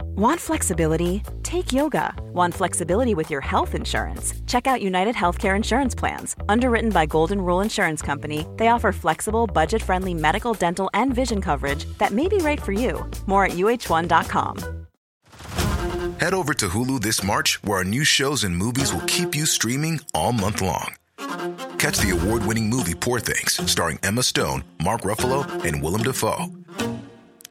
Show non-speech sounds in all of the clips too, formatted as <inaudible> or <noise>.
Want flexibility? Take yoga. Want flexibility with your health insurance? Check out United Healthcare Insurance Plans. Underwritten by Golden Rule Insurance Company, they offer flexible, budget friendly medical, dental, and vision coverage that may be right for you. More at uh1.com. Head over to Hulu this March, where our new shows and movies will keep you streaming all month long. Catch the award winning movie Poor Things, starring Emma Stone, Mark Ruffalo, and Willem Dafoe.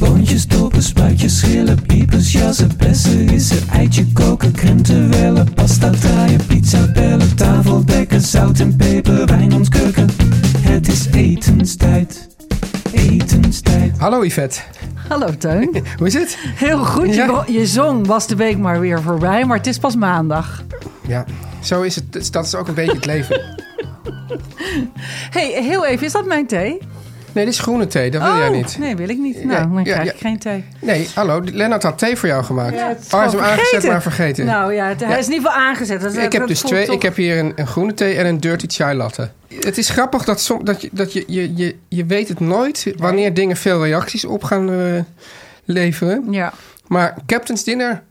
Boontjes, dopen, spuitjes, schillen, piepers, jassen, bessen, rissen, eitje koken, krenten wellen, pasta draaien, pizza bellen, tafel dekken, zout en peper, wijn ontkurken. Het is etenstijd, etenstijd. Hallo Yvette, <laughs> Hallo Teun. hoe is het? Heel Ja. goed. Je, begon- je zong was de week maar weer voorbij, maar het is pas maandag. Ja, zo is het. Dus Dat is ook een beetje het leven. hey, heel even, is dat mijn thee? Nee, dit is groene thee, dat wil oh, jij niet. Nee, wil ik niet. Ja, Nou, dan ja, krijg ja. ik geen thee. Nee, hallo, Lennart had thee voor jou gemaakt. Ja, oh, het hij is is hem gewoon aangezet, vergeten. maar vergeten. Nou ja, het, Ja. hij is in ieder geval aangezet. Dat, ik heb dat dus voelt twee. toch- Ik heb hier een, een groene thee en een dirty chai latte. Het is grappig dat, som, dat, je, dat je, je, je, je weet het nooit wanneer dingen veel reacties op gaan eh, leveren. Ja. Maar Captain's Dinner,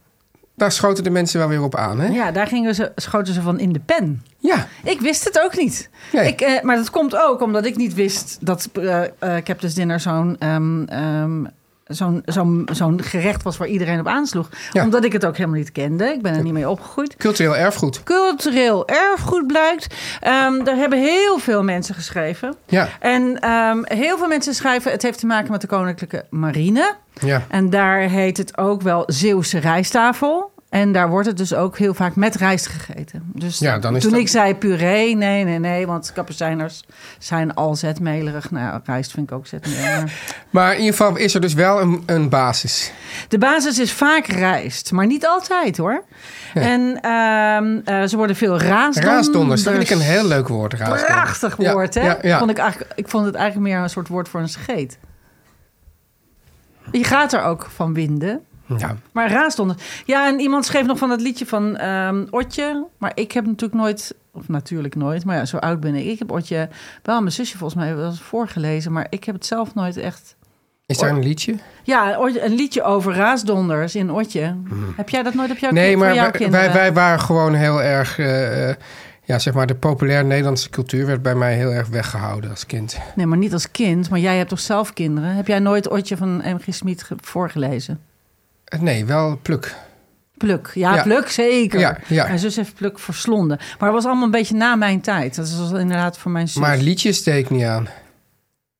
daar schoten de mensen wel weer op aan, hè? ja, daar gingen ze, schoten ze van in de pen. Ja. Ik wist het ook niet. Nee. Ik, eh, maar dat komt ook omdat ik niet wist dat eh eh, Captain's Dinner zo'n... ehm, ehm, Zo'n zo'n zo'n gerecht was waar iedereen op aansloeg. Ja. Omdat ik het ook helemaal niet kende. Ik ben er niet mee opgegroeid. Cultureel erfgoed. cultureel erfgoed blijkt. Ehm daar hebben heel veel mensen geschreven. Ja. En ehm, heel veel mensen schrijven... het heeft te maken met de Koninklijke Marine. Ja. En daar heet het ook wel Zeeuwse rijsttafel. En daar wordt het dus ook heel vaak met rijst gegeten. Dus Ja, dan is toen dat- ik zei puree, nee, nee, nee... want kapucijners zijn al zetmelerig. Nou, rijst vind ik <laughs> ook zetmelerig. Maar in ieder geval is er dus wel een, een basis. De basis is vaak rijst, maar niet altijd hoor. En ehm, eh, ze worden veel raasdonders. Raasdonders, dat vind ik een heel leuk woord. Raasdonders. Prachtig Ja, woord, hè? Ja, ja. Vond ik, eigenlijk, ik vond het eigenlijk meer een soort woord voor een scheet. Je gaat er ook van winden. Ja. Maar raasdonders. Ja, en iemand schreef nog van dat liedje van ehm, Otje. Maar ik heb natuurlijk nooit, of natuurlijk nooit, maar ja, zo oud ben ik. Ik heb Otje wel aan mijn zusje volgens mij wel eens voorgelezen. Maar ik heb het zelf nooit echt. Is daar een liedje? Ja, Otje- een liedje over raasdonders in Otje. Heb jij dat nooit op jouw Hmm. Nee, voor maar jouw wij, kinderen? wij, wij waren gewoon heel erg... eh, eh, ja, zeg maar, de populaire Nederlandse cultuur werd bij mij heel erg weggehouden als kind. Nee, maar niet als kind. Maar jij hebt toch zelf kinderen? Heb jij nooit Otje van M.G. Smit ge- voorgelezen? Eh, Nee, wel pluk. Pluk, ja, Ja. Pluk, zeker. Ja, ja. Mijn zus heeft Pluk verslonden. Maar het was allemaal een beetje na mijn tijd. Dat was inderdaad voor mijn zus. Maar liedjes steek niet aan.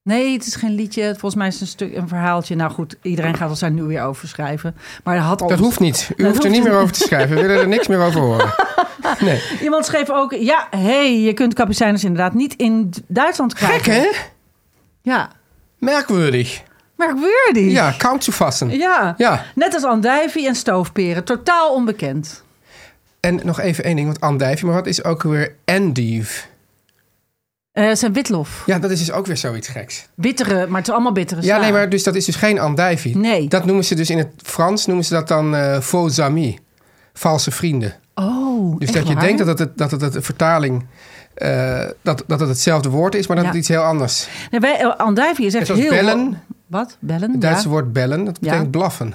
Nee, het is geen liedje. Volgens mij is het een stuk een verhaaltje. Nou goed, iedereen gaat ons daar nu weer over schrijven. Maar er had al... Oh. Dat hoeft niet. U Dat hoeft er hoeft niet meer niet. over te schrijven. We willen er niks meer over <laughs> horen. Nee. Iemand schreef ook... Ja, hey, je kunt kapucijners inderdaad niet in D- Duitsland Gek, krijgen. hè? Ja. Merkwürdig. Merkwaardig. Ja, kaum te vassen. ja. Ja. Net als andijvie en stoofperen. Totaal onbekend. En nog even één ding, want andijvie, maar wat is ook weer endief? Eh zijn witlof. Ja, dat is dus ook weer zoiets geks. Bittere, maar het is allemaal bittere Ja, sla. nee, maar dus dat is dus geen andijvie. Nee. Dat noemen ze dus in het Frans, noemen ze dat dan eh faux amis. Valse vrienden. Oh, Dus echt dat je waar? denkt dat het, dat het, dat het een vertaling, eh, dat, dat het hetzelfde woord is, maar dat Ja. het iets heel anders. Nee, wij, eh, andijvie is echt Net als heel... bellen. Wat? Bellen? Het Duitse ja. woord bellen, dat betekent Ja. blaffen.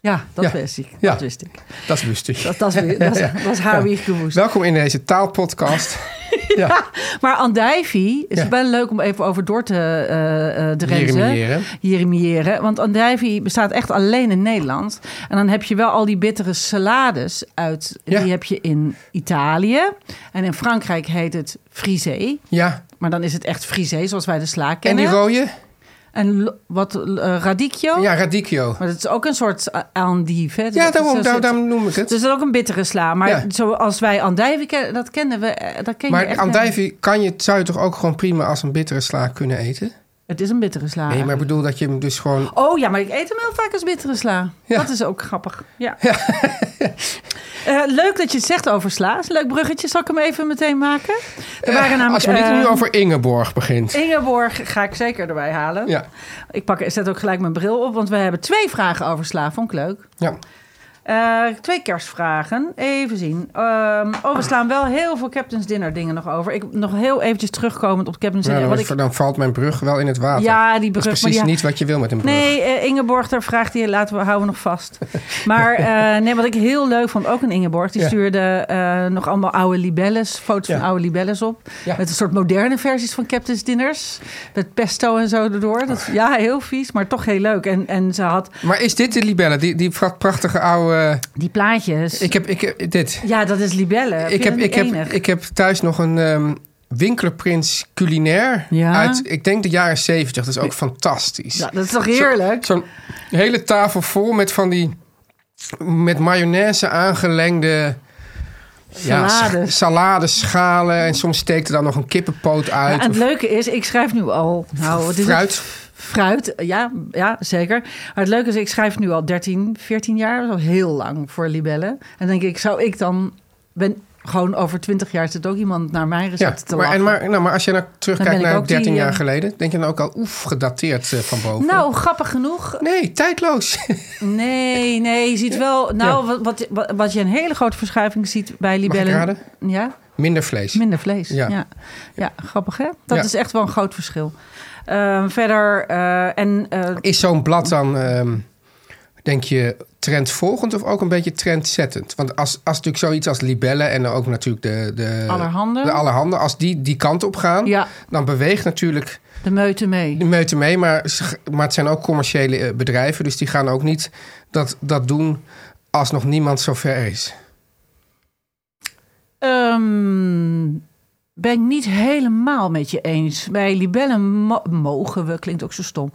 Ja, dat Ja. wist ik. Ja. Dat wist ik. Dat is lustig. Dat, dat, <laughs> is- dat, is- dat is haar wie gewoest. Welkom in deze <laughs> taalpodcast. ja. Maar andijvie is Ja. wel leuk om even over door te eh eh, drenzen. Jeremiëren. Jeremiëren. Want andijvie bestaat echt alleen in Nederland. En dan heb je wel al die bittere salades uit. Ja. Die heb je in Italië. En in Frankrijk heet het frisé. ja. Maar dan is het echt frisé, zoals wij de sla En kennen. die rode? En lo- wat, eh, radicchio. Ja, radicchio. Maar dat is ook een soort eh, andijf. hè? Dat Ja, is daarom, een daar, soort- daarom noem ik het. Dus dat is ook een bittere sla. Maar Ja. zoals wij andijvie kennen, dat kennen we. eh, Dat ken je Maar echt andijvie kan je, zou je toch ook gewoon prima als een bittere sla kunnen eten? Het is een bittere sla. Nee, maar ik bedoel dat je hem dus gewoon Oh ja, maar ik eet hem heel vaak als bittere sla. Ja. Dat is ook grappig. Ja. <laughs> Eh, leuk dat je het zegt over Slaas. Leuk bruggetje. Zal ik hem even meteen maken? Er waren namelijk, Als we niet nu eh, over Ingeborg begint. Ingeborg ga ik zeker erbij halen. Ja, Ik pak, zet ook gelijk mijn bril op, want we hebben twee vragen over Sla. Vond ik leuk. ja. Eh, twee kerstvragen. Even zien. Ehm, oh, we slaan wel heel veel Captain's Dinner dingen nog over. Ik nog heel eventjes terugkomend op Captain's Nou, Dinner. dan, wat ik, dan valt mijn brug wel in het water. ja, die dat brug. is maar precies die- niet wat je wil met een brug. Nee, eh, Ingeborg, daar vraagt die laten we houden we nog <laughs> vast. Maar eh, nee, wat ik heel leuk vond, ook een Ingeborg, die Ja. stuurde eh, nog allemaal oude libelles, foto's Ja. van oude libelles op. Ja. Met een soort moderne versies van Captain's Dinners. Met pesto en zo erdoor. Dat, ja, heel vies, maar toch heel leuk. En, en ze had Maar is dit de libelle? Die, die pra- prachtige oude... die plaatjes. Ik heb, ik heb dit. ja, dat is libelle. Vind ik heb, je dat niet ik, heb, enig? ik heb thuis nog een ehm winkelprins culinair Ja. uit, ik denk de jaren zeventig. Dat is ook fantastisch. ja, dat is toch heerlijk? Zo'n hele tafel vol met van die met mayonaise aangelengde Salades. s- saladeschalen. En soms steekt er dan nog een kippenpoot Ja, uit. en het of leuke is, ik schrijf nu al. Nou, wat is het? fruit. Fruit, ja, ja, zeker. Maar het leuke is, ik schrijf nu al 13, 14 jaar. Dat is al heel lang voor libellen. En denk ik, zou ik dan... Ben, gewoon over 20 jaar zit ook iemand naar mijn Ja, recept te maar, lachen. en maar, nou, maar als je nou ben terugkijkt ik naar ook die, 13 jaar eh, geleden, denk je dan ook al oef, gedateerd eh, van boven? Nou, grappig genoeg. Nee, tijdloos. Nee, nee, je ziet wel... Nou, wat- wat, wat, wat je een hele grote verschuiving ziet bij libellen... raden? Ja, Minder vlees. minder vlees. Ja. Ja, ja. grappig hè? Dat Ja. is echt wel een groot verschil. Eh, verder, eh, en eh, Is zo'n blad dan, ehm, denk je, trendvolgend of ook een beetje trendzettend? Want als, als natuurlijk zoiets als libellen en ook natuurlijk de, de, Allerhande. Eh, de allerhande, als die die kant op gaan, Ja. dan beweegt natuurlijk de meute mee. de meute mee. Maar, ze- maar het zijn ook commerciële eh, bedrijven, dus die gaan ook niet dat, dat doen als nog niemand zover is. Ehm, ben ik niet helemaal met je eens. Bij libellen mo- mogen we, klinkt ook zo stom.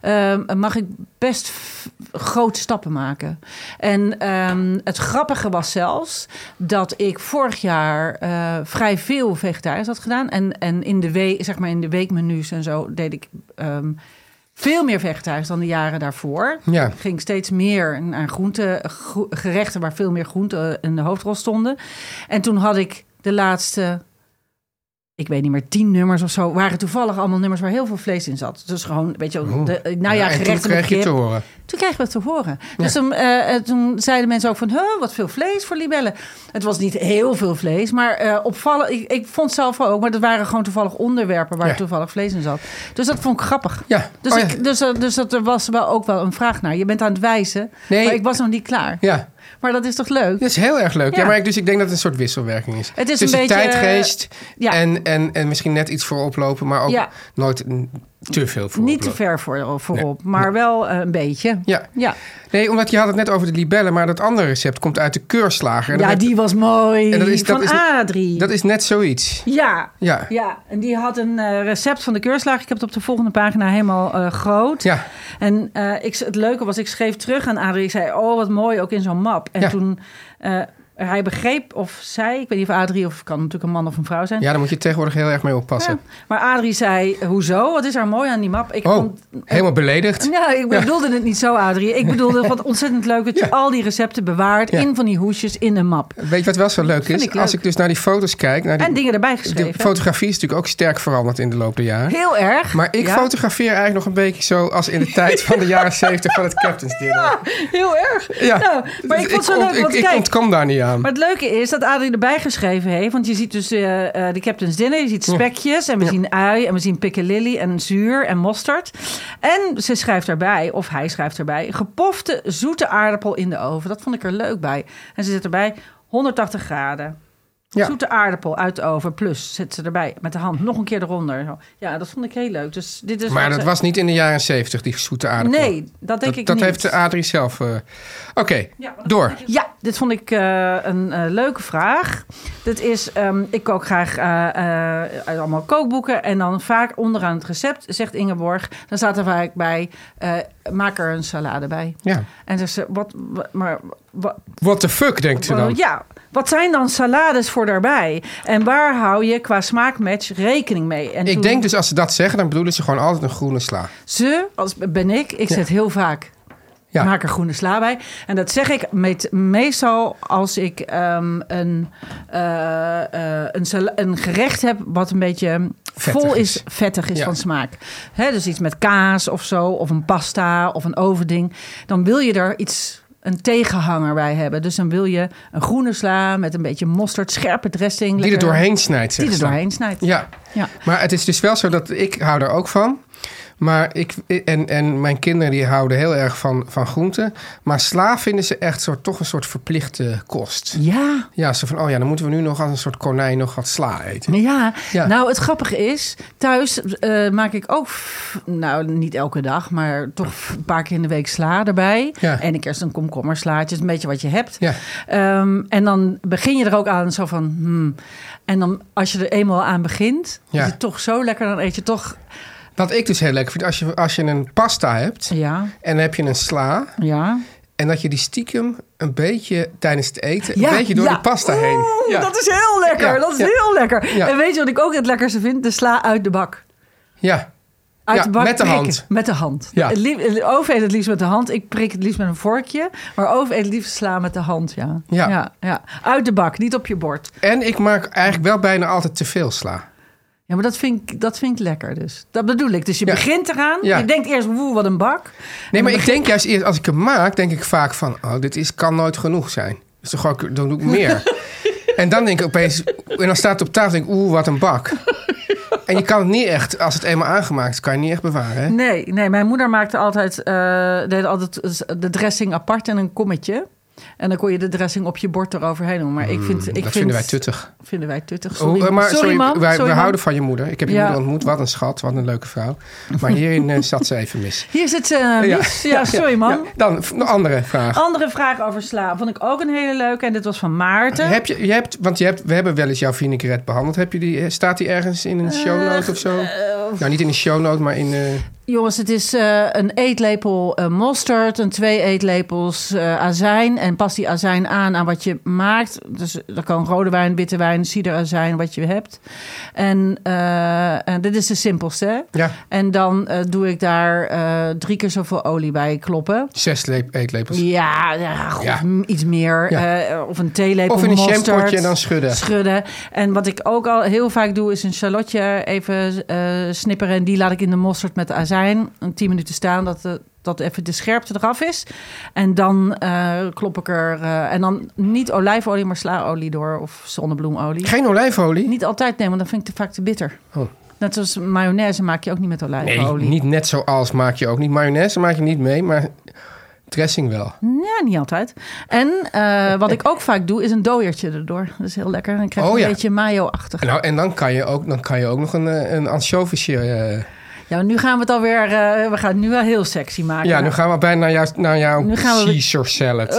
ehm, mag ik best f- grote stappen maken. En ehm, het grappige was zelfs dat ik vorig jaar eh, vrij veel vegetarisch had gedaan. En, en in, de we- zeg maar in de weekmenu's en zo deed ik ehm, veel meer vegetarisch dan de jaren daarvoor Ja, ging steeds meer naar groente, gro- gerechten waar veel meer groenten in de hoofdrol stonden. En toen had ik de laatste, ik weet niet meer, tien nummers of zo, waren toevallig allemaal nummers waar heel veel vlees in zat. Dus gewoon, weet je, wel, de, nou ja, Oh. en toen gerechten met kreeg je kip. te horen. Toen kregen we het te horen. Dus toen, eh, eh, toen zeiden mensen ook van, huh, wat veel vlees voor libellen. Het was niet heel veel vlees, maar eh, opvallen. Ik, ik vond zelf ook, maar dat waren gewoon toevallig onderwerpen waar Ja. toevallig vlees in zat. Dus dat vond ik grappig. Ja. Dus, Oh ja. ik, dus, eh, dus dat er was wel ook wel een vraag naar. Je bent aan het wijzen, Nee. maar ik was nog niet klaar. Ja, Maar dat is toch leuk? dat is heel erg leuk. Ja, Ja. maar ik, dus ik denk dat het een soort wisselwerking is. Het is Tussen een beetje, tijdgeest ja. en, en, en misschien net iets voorop lopen, maar ook Ja. nooit mm, te veel voorop Niet te lopen. ver voor, eh, voorop, maar wel eh, een beetje. Ja. Ja, Nee, omdat je had het net over de libellen, maar dat andere recept komt uit de keurslager. En ja dat, die was mooi. En dat is- Van dat is- Adrie. dat is net zoiets. Ja. Ja. ja, en die had een eh, recept van de keurslager. Ik heb het op de volgende pagina helemaal eh, groot. Ja. En eh, ik, het leuke was, ik schreef terug aan Adrie. Ik zei, oh, wat mooi, ook in zo'n map. En Ja. toen eh, hij begreep of zij... Ik weet niet of Adrie of kan natuurlijk een man of een vrouw zijn. ja, daar moet je tegenwoordig heel erg mee oppassen. Ja. Maar Adrie zei, hoezo? Wat is er mooi aan die map? Ik Oh, vond- helemaal beledigd. ja, ik bedoelde het niet zo, Adrie. Ik bedoelde wat ontzettend leuk dat je Ja. al die recepten bewaart... Ja. in van die hoesjes in een map. Weet je wat wel zo leuk Vind is? ik leuk. Als ik dus naar die foto's kijk. Naar die, En dingen erbij de geschreven. fotografie is natuurlijk ook sterk veranderd in de loop der jaren. Heel erg. Maar ik Ja. fotografeer eigenlijk nog een beetje zo als in de tijd van de jaren 70 van het Captain's Dinner. Ja, <laughs> heel erg. Ja. Nou, maar ik vond het zo ont- leuk, want ik, ik kijk, ontkwam daar niet aan. Maar het leuke is dat Adrie erbij geschreven heeft. Want je ziet dus eh, eh, de Captain's Dinner. Je ziet spekjes en we zien ui en we zien piccalilli en zuur en mosterd. En ze schrijft daarbij, of hij schrijft daarbij... gepofte zoete aardappel in de oven. Dat vond ik er leuk bij. En ze zet erbij 180 graden. Ja. Zoete aardappel uit de oven. Plus zet ze erbij met de hand nog een keer eronder. Zo. Ja, dat vond ik heel leuk. Dus dit is Maar wat dat ze- was niet in de jaren 70 die zoete aardappel. Nee, dat denk dat, ik dat niet. heeft de Adrie zelf. eh, Oké, door. Ja, dit vond ik eh, een eh, leuke vraag. Dit is, ehm, ik kook graag eh, eh, uit allemaal kookboeken. En dan vaak onderaan het recept, zegt Ingeborg, dan staat er vaak bij, eh, maak er een salade bij. Ja. En dus, wat, wa- maar, wa- What the fuck, denkt ze dan? ja, wat zijn dan salades voor daarbij? En waar hou je qua smaakmatch rekening mee? En Ik toen- denk dus als ze dat zeggen, dan bedoelen ze gewoon altijd een groene sla. Ze, als ben ik, ik zet heel vaak Ja. Maak er groene sla bij. En dat zeg ik met, meestal als ik ehm, een, eh, eh, een, sala- een gerecht heb wat een beetje Vettig vol is. is, vettig is Ja. van smaak. Hè, dus iets met kaas of zo, of een pasta of een overding. Dan wil je er iets, een tegenhanger bij hebben. Dus dan wil je een groene sla met een beetje mosterd, scherpe dressing. Die er lekker- doorheen snijdt, Die zeg er doorheen snijdt. Ja. Ja. Maar het is dus wel zo dat ik hou er ook van. Maar ik, en, en mijn kinderen die houden heel erg van, van groenten. Maar sla vinden ze echt soort, toch een soort verplichte kost. Ja. Ja, zo van, oh ja, dan moeten we nu nog als een soort konijn nog wat sla eten. Ja. Ja. nou het grappige is, thuis eh, maak ik ook, f- nou niet elke dag, maar toch f- een paar keer in de week sla erbij. Ja. En ik eerst een komkommerslaatje, is een beetje wat je hebt. Ja. Ehm, en dan begin je er ook aan zo van, hmm. En dan als je er eenmaal aan begint, Ja. is het toch zo lekker, dan eet je toch, Wat ik dus heel leuk vind, als je, als je een pasta hebt ja, en dan heb je een sla... ja. en dat je die stiekem een beetje tijdens het eten... Ja, een beetje door ja. de pasta Oeh, heen. Ja. Dat is heel lekker, Ja, dat is ja. heel lekker. Ja. En weet je wat ik ook het lekkerste vind? De sla uit de bak. ja. Uit Ja, de bak met de prikken. hand. Met de hand. Ja. Het lief- het- Over eet het liefst met de hand. Ik prik het liefst met een vorkje. Maar over eet het liefst sla met de hand, ja. Ja. ja. ja. Uit de bak, niet op je bord. En ik maak eigenlijk wel bijna altijd te veel sla. Ja, maar dat vind ik, dat vind ik lekker dus. Dat bedoel ik. Dus je Ja. begint eraan. Ja. Je denkt eerst, woe, wat een bak. Nee, maar ik denk juist eerst, als ik hem maak, denk ik vaak van, oh, dit is, kan nooit genoeg zijn. Dus dan, gooi ik, dan doe ik meer. <laughs> en dan denk ik opeens, en dan staat het op tafel, denk ik, oeh, wat een bak. En je kan het niet echt, als het eenmaal aangemaakt is, kan je het niet echt bewaren. Hè? Nee, nee, mijn moeder maakte altijd, eh, deed altijd de dressing apart in een kommetje. En dan kon je de dressing op je bord eroverheen doen. Maar ik vind, ik Hmm, dat vind, vinden wij tuttig. Vinden wij tuttig. Sorry, Oh, eh, sorry, mam. wij, Sorry, we mam. houden van je moeder. Ik heb je Ja. moeder ontmoet, wat een schat, wat een leuke vrouw. Maar hierin eh, zat ze even mis. Hier zit ze eh, mis. Ja, sorry man. Ja, Dan een andere vraag. Andere vraag over sla. Vond ik ook een hele leuke. En dit was van Maarten. Heb je, je hebt, want je hebt, we hebben wel eens jouw vinaigrette behandeld. Heb je die, eh, staat die ergens in een show Eh, note of zo? nou, niet in een show note, maar in... eh, Jongens, het is eh, een eetlepel eh, mosterd. En twee eetlepels eh, azijn. En pas die azijn aan aan wat je maakt. Dus dat kan rode wijn, witte wijn, ciderazijn, wat je hebt. En, eh, en dit is de simpelste. hè? Ja. En dan eh, doe ik daar eh, drie keer zoveel olie bij kloppen. Zes leep- eetlepels. Ja, ja, goed, Ja. m- iets meer. Ja. Eh, of een theelepel Of in een mosterd. shampootje en dan schudden. Schudden. En wat ik ook al heel vaak doe, is een shallotje even eh, snipperen. En die laat ik in de mosterd met azijn. Een 10 minuten staan, dat, eh, dat even de scherpte eraf is. En dan eh, klop ik er... eh, en dan niet olijfolie, maar slaolie door. Of zonnebloemolie. Geen olijfolie? Niet altijd nemen, want dan vind ik te vaak te bitter. Oh. Net zoals mayonaise maak je ook niet met Nee, olijfolie. niet net zoals maak je ook niet. Mayonaise maak je niet mee, maar dressing wel. Ja, niet altijd. En eh, wat ik ook vaak doe, is een dooiertje erdoor. Dat is heel lekker. Dan krijg je Oh, een ja. beetje mayo-achtig. Nou, en dan kan je ook, dan kan je ook nog een, eh, een ansjovisje... eh, Ja, maar nu gaan we het alweer... eh we gaan het nu wel heel sexy maken. ja, nu gaan we bijna naar, jou, naar jouw Nu gaan we- Caesar salad.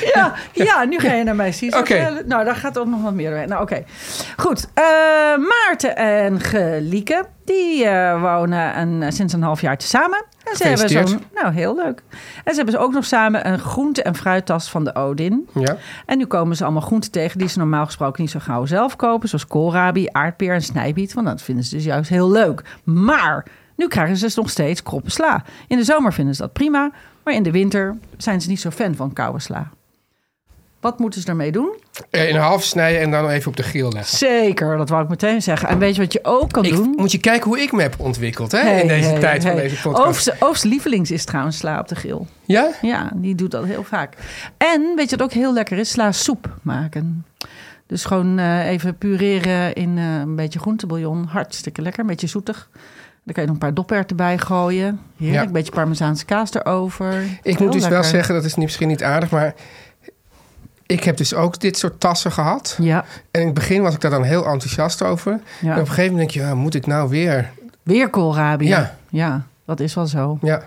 ja, ja, nu ga je naar mij zien. Oké. Nou, daar gaat ook nog wat meer doorheen. Nou, oké. Goed. eh, Maarten en Gelieke, die eh, wonen een, sinds een half jaar samen. En ze hebben Gefeliciteerd. zo'n... Nou, heel leuk. En ze hebben ze ook nog samen een groente- en fruittas van de Odin. Ja. En nu komen ze allemaal groenten tegen die ze normaal gesproken niet zo gauw zelf kopen. Zoals koolrabi, aardpeer en snijbiet. Want dat vinden ze dus juist heel leuk. Maar nu krijgen ze dus nog steeds kroppen sla. In de zomer vinden ze dat prima. Maar in de winter zijn ze niet zo fan van koude sla. Wat moeten ze daarmee doen? Eh, In half snijden en dan even op de grill leggen. Zeker, dat wou ik meteen zeggen. En weet je wat je ook kan Ik, doen? moet je kijken hoe ik me heb ontwikkeld hè, Hey, in deze hey, tijd van hey. deze podcast. Oof's- Oof's lievelings is trouwens sla op de grill. Ja? Ja, die doet dat heel vaak. En weet je wat ook heel lekker is? Sla soep maken. Dus gewoon eh, even pureren in eh, een beetje groentebouillon. Hartstikke lekker, een beetje zoetig. Dan kan je nog een paar doperten bij gooien. Heerlijk, Ja. een beetje parmezaanse kaas erover. Ik moet dus wel zeggen, dat is niet- misschien niet aardig, maar... Ik heb dus ook dit soort tassen gehad. Ja, En in het begin was ik daar dan heel enthousiast over. Ja. En op een gegeven moment denk je, ja, moet ik nou weer? weer koolrabi. Ja. Ja. ja, dat is wel zo. Ja.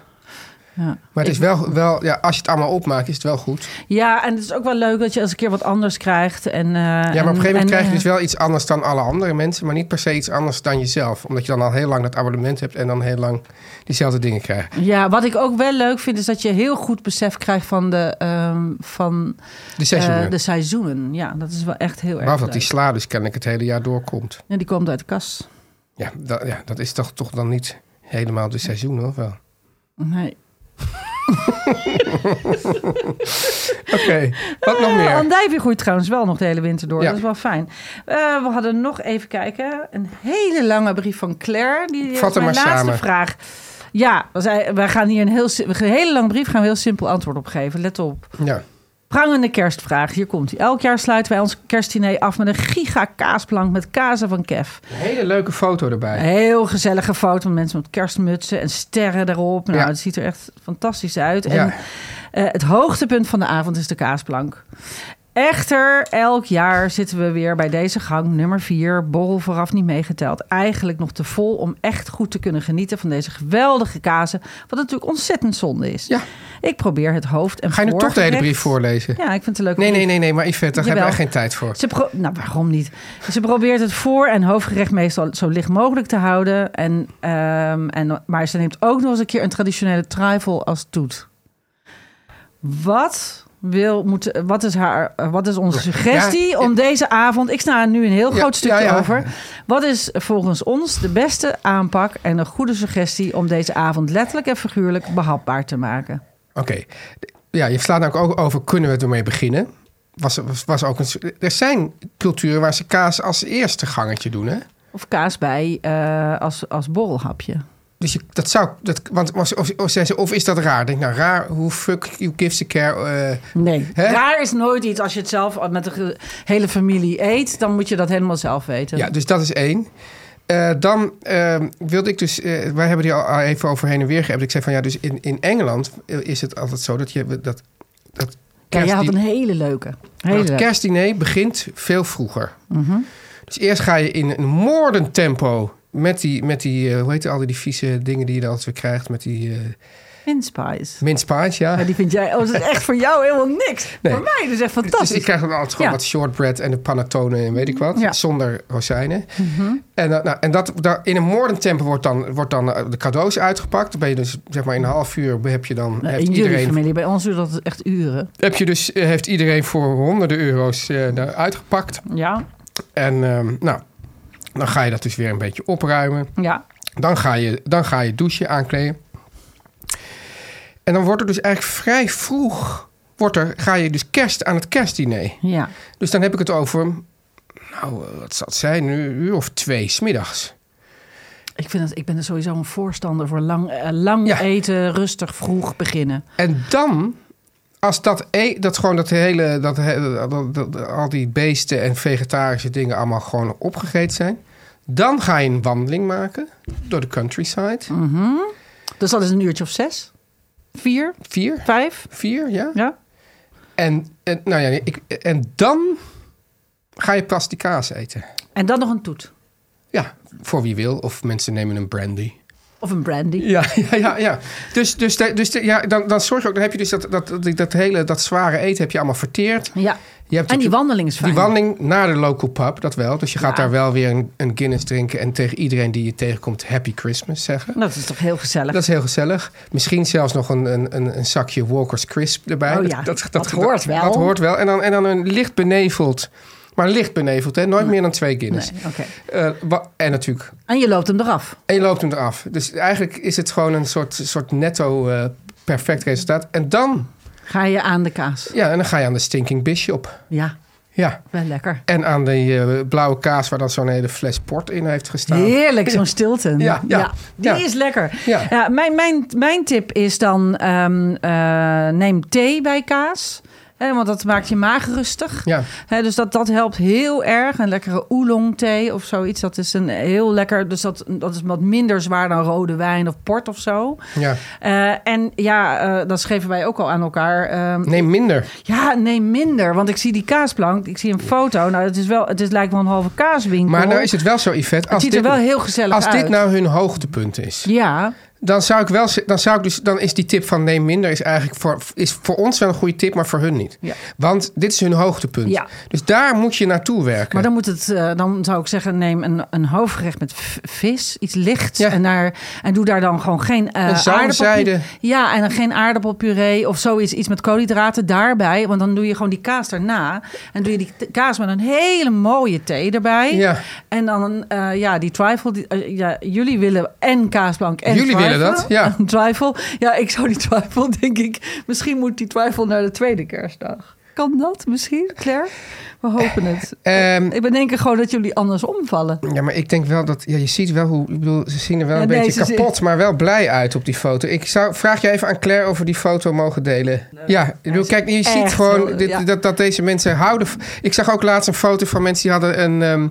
Ja. Maar het is wel, wel ja, als je het allemaal opmaakt, is het wel goed. Ja, en het is ook wel leuk dat je eens een keer wat anders krijgt. En, eh, Ja, maar op een gegeven moment krijg je dus wel. wel iets anders dan alle andere mensen. Maar niet per se iets anders dan jezelf. Omdat je dan al heel lang dat abonnement hebt en dan heel lang diezelfde dingen krijgt. Ja, wat ik ook wel leuk vind, is dat je heel goed besef krijgt van de, ehm, van, De seizoenen. Eh, de seizoenen, ja. Dat is wel echt heel erg Behalve dat die leuk. sla dus kennelijk het hele jaar doorkomt. Ja, die komt uit de kas. Ja, dat, ja, dat is toch, toch dan niet helemaal de seizoen, of wel? Nee. Oké, wat <laughs> nog Eh, meer? andijvie groeit trouwens wel nog de hele winter door. Ja. Dat is wel fijn. Eh, we hadden nog even kijken. Een hele lange brief van Claire. Die heeft Vat hem mijn maar laatste samen. vraag. Ja, we zei- wij gaan hier een heel, si- een hele lange brief gaan we heel simpel antwoord op geven. Let op. Ja. Prangende kerstvraag. Hier komt hij. Elk jaar sluiten wij ons kerstdiner af met een giga kaasplank met kazen van Kef. Een hele leuke foto erbij. Een heel gezellige foto met mensen met kerstmutsen en sterren erop. Nou, Ja. het ziet er echt fantastisch uit. En Ja. eh, het hoogtepunt van de avond is de kaasplank. Echter, elk jaar zitten we weer bij deze gang nummer 4, borrel vooraf niet meegeteld. Eigenlijk nog te vol om echt goed te kunnen genieten van deze geweldige kazen. Wat natuurlijk ontzettend zonde is. Ja. Ik probeer het hoofd en Ga je nu toch de hele voorgerecht- brief voorlezen? Ja, ik vind het een leuke Nee, brief. nee, nee, nee, maar Yvette, daar hebben Jawel. we echt geen tijd voor. Ze pro- nou, waarom niet? Ze probeert het voor- en hoofdgerecht meestal zo licht mogelijk te houden. En, ehm, en, maar ze neemt ook nog eens een keer een traditionele trifle als toet. Wat, wil, moet, wat, is, haar, eh, wat is onze suggestie ja. om deze avond... Ik sta er nu een heel Ja, groot stukje ja, ja. over. Wat is volgens ons de beste aanpak en een goede suggestie... om deze avond letterlijk en figuurlijk behapbaar te maken? Oké. Ja, je slaat nou ook over, kunnen we ermee beginnen? Was, was, was ook een, er zijn culturen waar ze kaas als eerste gangetje doen, hè? Of kaas bij eh, als, als borrelhapje. Dus je, dat zou, dat, want als- of, of, zei ze, of is dat raar? Denk nou, raar, hoe fuck you gives a care? eh, Nee. Hè? Raar is nooit iets. Als je het zelf met de ge- hele familie eet, dan moet je dat helemaal zelf weten. ja, dus dat is één. Eh, dan ehm, wilde ik dus, eh, wij hebben die al- al even over heen en weer geëbd. Ik zei van ja, dus in, in Engeland eh, is het altijd zo dat je dat, dat Kijk, jij had kerstdiner- een hele leuke. Hele Mhm. Maar leuke. het kerstdiner begint veel vroeger. Dus eerst ga je in een moordend tempo met die, met die eh, hoe heet het, al die vieze dingen die je dan altijd weer krijgt. Met die eh Mint Spice. mince pies, ja. Ja, die vind jij, oh, dat is echt voor jou helemaal niks. Nee. Voor mij, dat is echt dus fantastisch. ik krijg dan altijd gewoon Ja. wat shortbread en de panettone en weet ik wat. Ja. Mhm. Zonder rozijnen. En, dan- nou, en dat, daar, in een moordend tempo wordt dan, wordt dan eh, de cadeaus uitgepakt. Dan ben je dus zeg maar in een half uur heb je dan... Nou, heeft in jullie iedereen familie, bij ons duurt dat echt uren. heb je dus, eh, heeft iedereen voor honderden euro's eh, daar uitgepakt. Ja, En ehm, nou, dan ga je dat dus weer een beetje opruimen. ja. Dan ga je, dan ga je douchen aankleden. En dan wordt er dus eigenlijk vrij vroeg... Wordt er, ga je dus kerst aan het kerstdiner. ja. Dus dan heb ik het over... Nou, eh, wat zal het zijn? Een uur of twee smiddags. Ik, vind dat, ik ben er sowieso een voorstander voor lang, eh, lang Ja. eten, rustig, vroeg beginnen. En dan... Als dat, e- dat gewoon dat hele, dat, he- dat, dat- dat- al die beesten en vegetarische dingen allemaal gewoon opgegeten zijn. Dan ga je een wandeling maken door de countryside. Dus dat is een uurtje of zes? Vier? Vier, Vijf? vier, ja. Ja. En, en, nou ja, ik, en dan ga je pas die kaas eten. En dan nog een toet. Ja, voor wie wil. Of mensen nemen een brandy. Of een brandy. Ja, <laughs> ja, ja. ja. Dus, dus, de- dus de- ja, dan, dan zorg je ook, dan heb je dus dat, dat, dat, dat hele dat zware eten heb je allemaal verteerd. Ja. Je hebt En die natuurlijk wandeling is fijn. die wandeling naar de local pub, dat wel. Dus je gaat Ja. daar wel weer een, een Guinness drinken en tegen iedereen die je tegenkomt Happy Christmas zeggen. Dat is toch heel gezellig. <laughs> Dat is heel gezellig. Misschien zelfs nog een, een, een, een zakje Walker's Crisp erbij. Oh ja, dat hoort wel. Dat hoort wel. En dan, en dan een licht beneveld, maar licht beneveld, hè? nooit meer dan twee Guinness. nee, oké. Eh, wa- en natuurlijk, En je loopt hem eraf. en je loopt hem eraf. Dus eigenlijk is het gewoon een soort, soort netto eh, perfect resultaat. En dan, Ga je aan de kaas. ja, en dan ga je aan de Stinking Bishop. Ja, Ja. wel lekker. En aan die eh, blauwe kaas waar dan zo'n hele fles port in heeft gestaan. Heerlijk, zo'n stilten. Ja, ja, die ja. is lekker. Ja. mijn, mijn, mijn tip is dan ehm, eh, neem thee bij kaas. Hè, want dat maakt je maag rustig. Ja. Hè, dus dat, dat helpt heel erg. Een lekkere oolong thee of zoiets. Dat is een heel lekker. Dus dat, dat is wat minder zwaar dan rode wijn of port of zo. Ja. Eh, en ja, eh, dat schreven wij ook al aan elkaar. ehm, Neem minder. Ja, nee, minder. Want ik zie die kaasplank, ik zie een foto. Nou, het, is wel, het is, lijkt wel een halve kaaswinkel. Maar nou is het wel zo, Yvette. het Als ziet dit, nou er wel heel gezellig als uit. dit nou hun hoogtepunt is. Ja, Dan zou ik wel, z- dan zou ik dus, dan is die tip van neem minder is eigenlijk voor, is voor ons wel een goede tip, maar voor hun niet. Ja. Want dit is hun hoogtepunt. Ja. Dus daar moet je naartoe werken. Maar dan, moet het, eh, dan zou ik zeggen, neem een, een hoofdgerecht met v- vis, iets lichts. Ja. En, daar, en doe daar dan gewoon geen eh Een aardappelpuree. zalmzijde. Ja, en dan geen aardappelpuree of zoiets. Iets met koolhydraten daarbij. Want dan doe je gewoon die kaas daarna. En doe je die t- kaas met een hele mooie thee erbij. Ja. En dan eh, ja, die trifle. Die, eh, ja, jullie willen en kaasblank en Jullie willen trifle. dat, <laughs> ja. En trifle. Ja, ik zou die trifle, <laughs> denk ik... Misschien moet die trifle naar de tweede kerstdag. Kan dat misschien, Claire? We hopen het. Ehm, Ik ben denk ik gewoon dat jullie anders omvallen. Ja, maar ik denk wel dat. Ja, je ziet wel hoe. Ik bedoel, ze zien er wel Ja, een nee, beetje ze zien- kapot, maar wel blij uit op die foto. Ik zou, vraag je even aan Claire of we die foto mogen delen. Ja, ik bedoel, kijk, je ziet echt gewoon heel- dit- ja. dat, dat deze mensen houden. v- Ik zag ook laatst een foto van mensen die hadden een. ehm,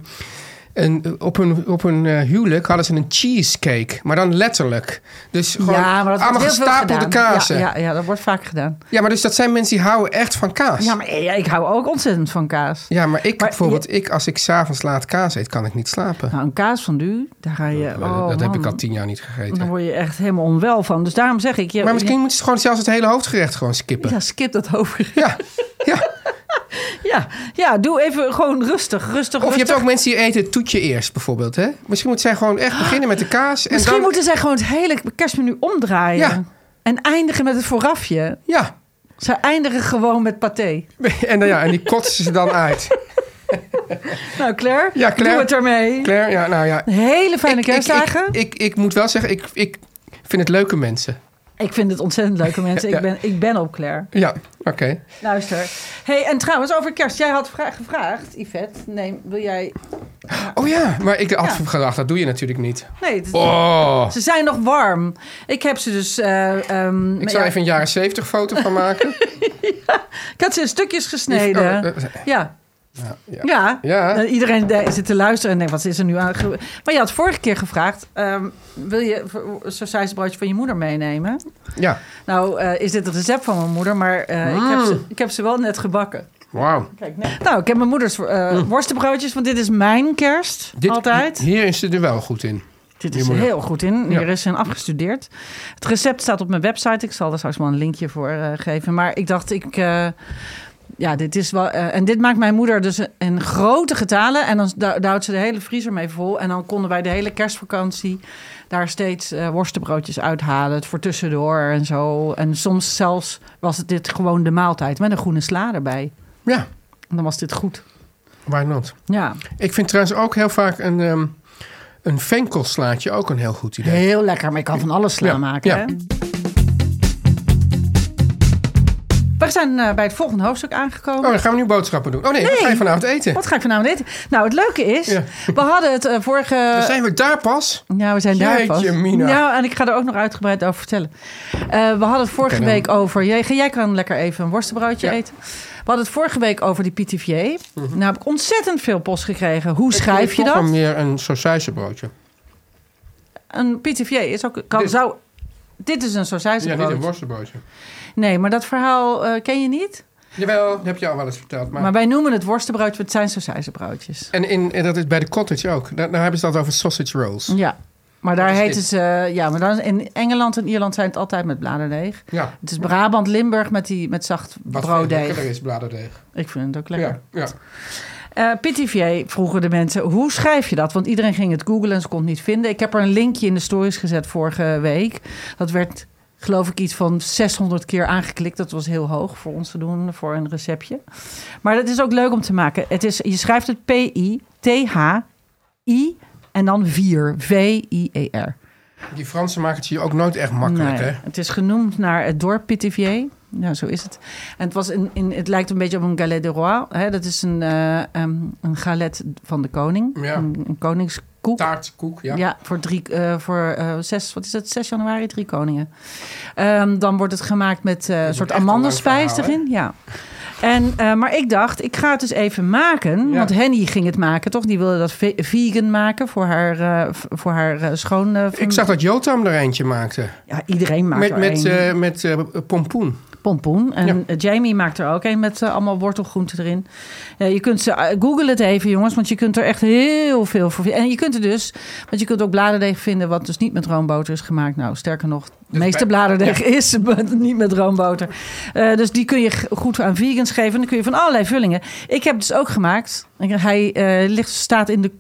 een, op hun, op hun eh, huwelijk hadden ze een cheesecake, maar dan letterlijk. Dus gewoon wordt allemaal heel veel gestapelde gedaan. kazen. Ja, Ja, ja, ja, dat wordt vaak gedaan. maar dus dat zijn mensen die houden echt van kaas. Ja, maar ja, ik hou ook ontzettend van kaas. Ja, maar ik Maar bijvoorbeeld, ik, als ik s'avonds laat kaas eet, kan ik niet slapen. Nou, een kaas van nu, daar ga je... dat oh, dat heb ik man. al tien jaar niet gegeten. Dan word je echt helemaal onwel van. Dus daarom zeg ik... Je, Maar misschien moet je gewoon zelfs het hele hoofdgerecht gewoon skippen. <laughs> Ja, skip dat over. <laughs> Ja. ja. Ja, ja, doe even gewoon rustig, rustig, Of je hebt rustig. ook mensen die eten het toetje eerst bijvoorbeeld. Hè? Misschien moeten zij gewoon echt beginnen met de kaas. En Misschien dan, moeten zij gewoon het hele kerstmenu omdraaien. Ja. En eindigen met het voorafje. Ja. <laughs> Ze eindigen gewoon met paté. En, dan, ja, en die kotsen ze dan uit. Nou, Claire, Ja, Claire. doe het ermee. Claire, ja, nou ja. Hele fijne Ik- ik- kerstdagen. Ik, ik, ik, moet wel zeggen, ik, ik vind het leuke mensen. Ik vind het ontzettend leuke <laughs> mensen. Ja. Ik ben, ik ben op Claire. Ja, oké. Luister. Hey, en trouwens, over kerst. Jij had vra- gevraagd, Yvette. Nee, wil jij... Oh ja, maar ik had Ja. gedacht, dat doe je natuurlijk niet. Nee, het- Oh. ze zijn nog warm. Ik heb ze dus... eh, ehm, Ik zou ja, even een jaren zeventig foto van <laughs> maken. Ik had ze in stukjes gesneden. Die- oh, eh, ja. ja. Ja. Ja. Eh, Iedereen de- zit te luisteren en denkt, wat is er nu aan? ge- Maar je had vorige keer gevraagd, ehm, wil je v- sausijzenbroodje van je moeder meenemen? Ja, Nou, eh, is dit het recept van mijn moeder, maar eh, ik, heb Mm. ze, ik heb ze wel net gebakken. wauw. Kijk, nee. Nou, ik heb mijn moeders eh, worstenbroodjes, want dit is mijn kerst Mm. Dit- altijd. Hier is ze er wel goed in. Dit Je is moet- heel goed in. Ja. Hier is zijn afgestudeerd. Het recept staat op mijn website. Ik zal daar straks wel een linkje voor eh, geven. Maar ik dacht, ik. eh, ja, dit is wel. eh, en dit maakt mijn moeder dus in grote getalen. En dan dou- duwt ze de hele vriezer mee vol. En dan konden wij de hele kerstvakantie daar steeds eh, worstenbroodjes uithalen. Het voor tussendoor en zo. En soms zelfs was het dit gewoon de maaltijd met een groene sla erbij. Ja, En dan was dit goed. why not? Ja, Ik vind trouwens ook heel vaak een, ehm een venkelslaatje ook een heel goed idee. heel lekker. Maar ik kan van alles sla Ja, maken. ja. Hè? We zijn eh, bij het volgende hoofdstuk aangekomen. Oh, dan gaan we nu boodschappen doen. Oh nee, wat ga je vanavond eten? Wat ga ik vanavond eten? Nou, het leuke is, Ja. we hadden het eh, vorige... Dan zijn we daar pas. Ja, we zijn daar Jeetje, pas. Mina. Ja, en ik ga er ook nog uitgebreid over vertellen. Eh, we hadden het vorige Oké, dan- week over... Jij, jij kan lekker even een worstenbroodje Ja. eten. We hadden het vorige week over die pitivier. Nou heb ik ontzettend veel post gekregen. Hoe schrijf je Ik wil dat? toch meer een sausijzenbroodje. Een pitivier is ook... Kan, Dit. zou, dit is een Ja, sausijzenbroodje. niet een worstenbroodje. nee, maar dat verhaal eh, ken je niet. Jawel, dat heb je al wel eens verteld. Maar... Maar wij noemen het worstenbroodje, want het zijn sausijzenbroodjes. En, in, en dat is bij de cottage ook. Daar, daar hebben ze dat over sausage rolls. Ja, maar daar Dat is heten dit. ze. Ja, maar dan, in Engeland en Ierland zijn het altijd met bladerdeeg. Ja. Het is Brabant, Limburg met, die, met zacht Wat veel brooddeeg. lekkerder is bladerdeeg. Ik vind het ook lekker. Ja, ja. Eh, Pithiviers vroegen de mensen, hoe schrijf je dat? Want iedereen ging het googlen en ze kon het niet vinden. Ik heb er een linkje in de stories gezet vorige week. Dat werd, geloof ik, iets van 600 keer aangeklikt. Dat was heel hoog voor ons te doen, voor een receptje. Maar dat is ook leuk om te maken. Het is, je schrijft het P-I-T-H-I en dan 4. V-I-E-R. Die Fransen maken het hier ook nooit echt makkelijk, Nee, hè? Het is genoemd naar het dorp Pithiviers. Ja, zo is het. En het, was in, in, het lijkt een beetje op een galet de roi. Hè? Dat is een, eh, ehm, een galet van de koning. Ja. Een, een koningskoek. Taart, koek, ja. ja. voor, drie, eh, voor eh, zes, wat is het, 6 januari, drie koningen. Ehm, dan wordt het gemaakt met eh, een soort echt een lang amandelspijs verhaal, hè? erin. Ja. En, eh, maar ik dacht, ik ga het dus even maken. Ja. Want Henny ging het maken, toch? Die wilde dat ve- vegan maken voor haar, eh, v- voor haar eh, schoon... eh, Ik zag dat Jotam er eentje maakte. ja, iedereen maakt met er met, een. eh, met eh, pompoen. pompoen. En eh, Jamie maakt er ook een met eh, allemaal wortelgroenten erin. Eh, je kunt ze, eh, google het even jongens, want je kunt er echt heel veel voor vinden. En je kunt er dus, want je kunt ook bladerdeeg vinden wat dus niet met roomboter is gemaakt. Nou, sterker nog, de meeste bladerdeeg is <laughs> met- niet met roomboter. Eh, dus die kun je g- goed aan vegans geven. En dan kun je van allerlei vullingen. Ik heb dus ook gemaakt. Ik- Hij eh, ligt, staat in de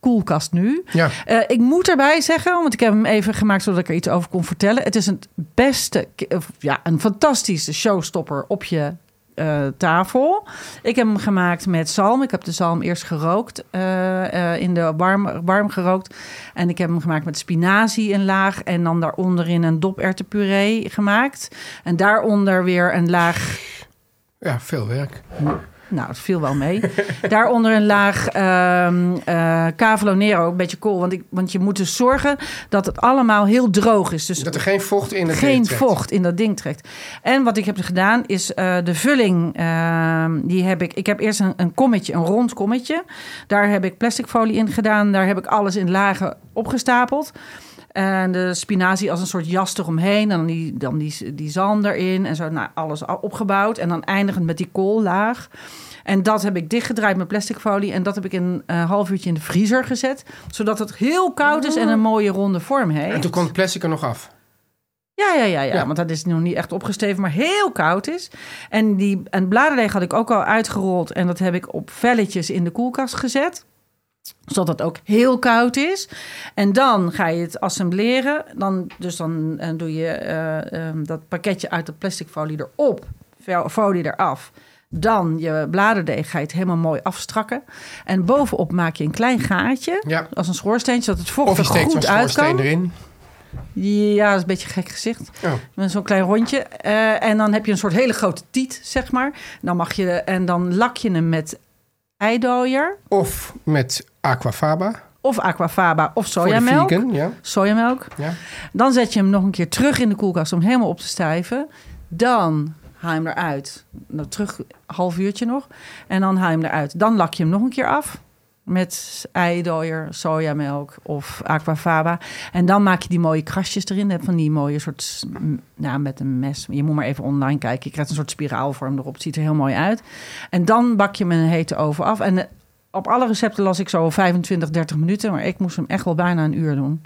koelkast nu. Ja. Eh, ik moet erbij zeggen, want ik heb hem even gemaakt zodat ik er iets over kon vertellen. Het is een beste, k- of ja, een fantastische showstopper op je eh, tafel. Ik heb hem gemaakt met zalm. Ik heb de zalm eerst gerookt, eh, eh, in de warm, warm gerookt. En ik heb hem gemaakt met spinazie in laag. En dan daaronderin een doperwtenpuree gemaakt. En daaronder weer een laag Ja, veel werk. nou, het viel wel mee. <laughs> Daaronder een laag ehm eh, cavolo nero, een beetje kool. Want, ik, want je moet dus zorgen dat het allemaal heel droog is. Dus Dat er geen vocht in het geen ding trekt. vocht in dat ding trekt. En wat ik heb gedaan is eh, de vulling. ehm, die heb ik. Ik heb eerst een, een kommetje, een rond kommetje. Daar heb ik plastic folie in gedaan. Daar heb ik alles in lagen opgestapeld. En de spinazie als een soort jas eromheen. En dan die, dan die, die zalm erin. En zo nou, alles al opgebouwd. En dan eindigend met die koollaag. En dat heb ik dichtgedraaid met plastic folie. En dat heb ik een eh, half uurtje in de vriezer gezet. Zodat het heel koud is en een mooie ronde vorm heeft. Mm. En toen kon het plastic er nog af. Ja, ja, ja, ja, Ja. want dat is nog niet echt opgesteven, maar heel koud is. En die en bladerdeeg had ik ook al uitgerold en dat heb ik op velletjes in de koelkast gezet zodat het ook heel koud is. En dan ga je het assembleren. Dan, dus dan eh, doe je eh, ehm, dat pakketje uit de plastic folie erop, vel- folie eraf. Dan je bladerdeeg ga je het helemaal mooi afstrakken. En bovenop maak je een klein gaatje, Ja. als een schoorsteentje, zodat het vocht Of je er steekt zo'n goed uit schoorsteen kan. erin. Ja, dat is een beetje een gek gezicht. Oh. Met zo'n klein rondje. Eh, en dan heb je een soort hele grote tiet, zeg maar. Dan mag je, en dan lak je hem met eidooier Of met aquafaba. of aquafaba of Voor de sojamelk. vegan, ja. Sojamelk. ja. Dan zet je hem nog een keer terug in de koelkast om helemaal op te stijven. Dan haal je hem eruit. Nou, terug half uurtje nog. En dan haal je hem eruit. Dan lak je hem nog een keer af. Met eidooier, sojamelk of aquafaba. En dan maak je die mooie krasjes erin. Hè, Van die mooie soort... mm, Nou, met een mes. Je moet maar even online kijken. Je krijgt een soort spiraalvorm erop. Het ziet er heel mooi uit. En dan bak je hem in een hete oven af. En eh, op alle recepten las ik zo 25, 30 minuten. Maar ik moest hem echt wel bijna een uur doen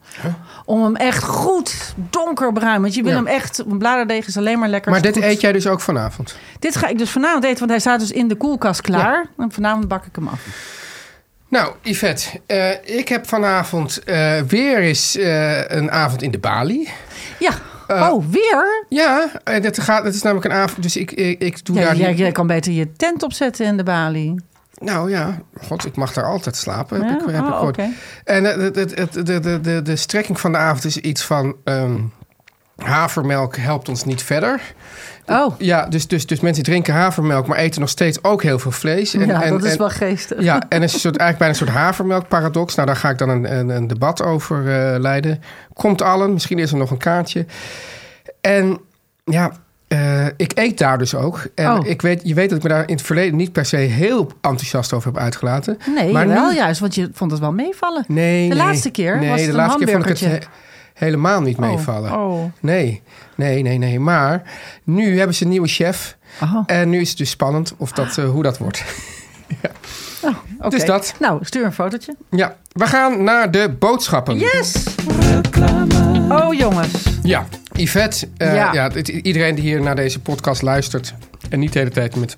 om hem echt goed donkerbruin. Want je wil Ja. hem echt. Want bladerdeeg is alleen maar lekker. Maar als dit het goed- eet jij dus ook vanavond. Dit ga ik dus vanavond eten, want hij staat dus in de koelkast klaar. En vanavond bak ik hem af. Nou, Yvette, eh, ik heb vanavond eh, weer eens eh, een avond in de Bali. Ja. Eh, oh, weer? Ja, eh, dat, gaat, dat is namelijk een avond. Dus ik, ik, ik doe Ja, daar. jij, niet- jij kan beter je tent opzetten in de balie. Nou ja, god, ik mag daar altijd slapen. Heb Ja? ik, heb ik Oh, gehoord. oké. En eh, het- het- het- de, de, de, de, strekking van de avond is iets van. ehm, havermelk helpt ons niet verder. Oh, Ja, dus, dus, dus mensen drinken havermelk, maar eten nog steeds ook heel veel vlees. En, ja, en- dat is en- wel geestig. Ja, en het is een soort, eigenlijk bijna een soort havermelkparadox. Nou, daar ga ik dan een, een, een debat over eh, leiden. Komt allen, misschien is er nog een kaartje. En ja, eh, ik eet daar dus ook. En Oh. ik weet, je weet dat ik me daar in het verleden niet per se heel enthousiast over heb uitgelaten. Nee, maar wel nu- juist, want je vond het wel meevallen. Nee, De nee. laatste keer nee, was het de een laatste keer vond ik het hamburgertje. he- helemaal niet Oh, meevallen. Oh. Nee, nee, nee, nee. Maar nu hebben ze een nieuwe chef. Oh, En nu is het dus spannend of dat, eh, hoe dat wordt. oh, oké. Dus dat. Nou, stuur een fotootje. Ja, we gaan naar de boodschappen. Yes! Oh, jongens. Ja, Yvette, eh, ja. Ja. het- iedereen die hier naar deze podcast luistert en niet de hele tijd met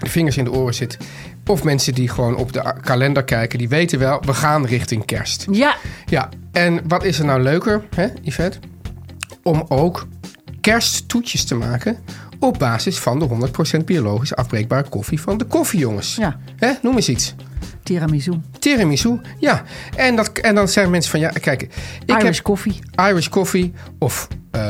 de vingers in de oren zit, of mensen die gewoon op de a- kalender kijken, die weten wel, we gaan richting kerst. Ja, Ja, en wat is er nou leuker, hè, Yvette, om ook kersttoetjes te maken op basis van de 100% biologisch afbreekbare koffie van de koffiejongens. Ja. Hè, noem eens iets. tiramisu. Tiramisu, ja. En, dat, en dan zeggen mensen van, ja, kijk, ik heb Eh, Irish koffie. Irish Coffee of eh,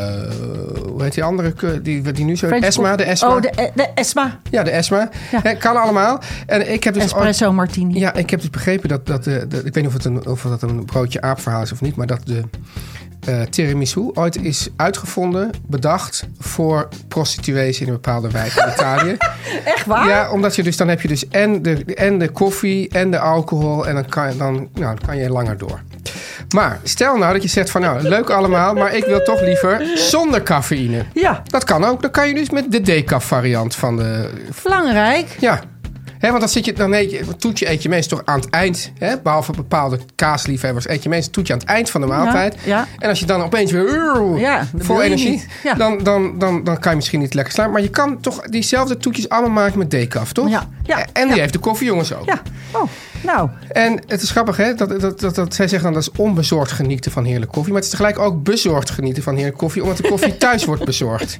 hoe heet die andere ke- die, die nu zo French Esma, de coffee. Esma. Oh, de, de Esma. Ja, de Esma. Ja. Hè, Kan allemaal. En ik heb dus ooit- Espresso martini. ja, ik heb dus begrepen dat, dat eh, de- ik weet niet of, het een, of dat een broodje aapverhaal is of niet, maar dat de eh, tiramisu ooit is uitgevonden, bedacht voor prostituees in een bepaalde wijk in <laughs> Italië. Echt waar? Ja, omdat je dus dan heb je dus en de, en de koffie en de alcohol en dan kan, je- dan, nou, dan kan je langer door. Maar stel nou dat je zegt van nou, leuk allemaal, maar ik wil toch liever zonder cafeïne. Ja, Dat kan ook. Dan kan je dus met de decaf variant van de... belangrijk. Ja. hè, want dan zit je, dan eet je, een toetje eet je meestal toch aan het eind. hè, behalve bepaalde kaasliefhebbers eet je meestal een toetje aan het eind van de maaltijd. ja. En als je dan opeens weer uur, Ja, dat wil vol je energie, niet. Ja. dan, dan, dan, dan kan je misschien niet lekker slapen. Maar je kan toch diezelfde toetjes allemaal maken met decaf, toch? Ja, ja, En die ja. heeft de koffiejongens ook. Ja, oh, nou, En het is grappig, hè? Dat, dat, dat, dat, zij zeggen dan dat is onbezorgd genieten van heerlijke koffie. Maar het is tegelijk ook bezorgd genieten van heerlijke koffie, omdat de <laughs> koffie thuis wordt bezorgd.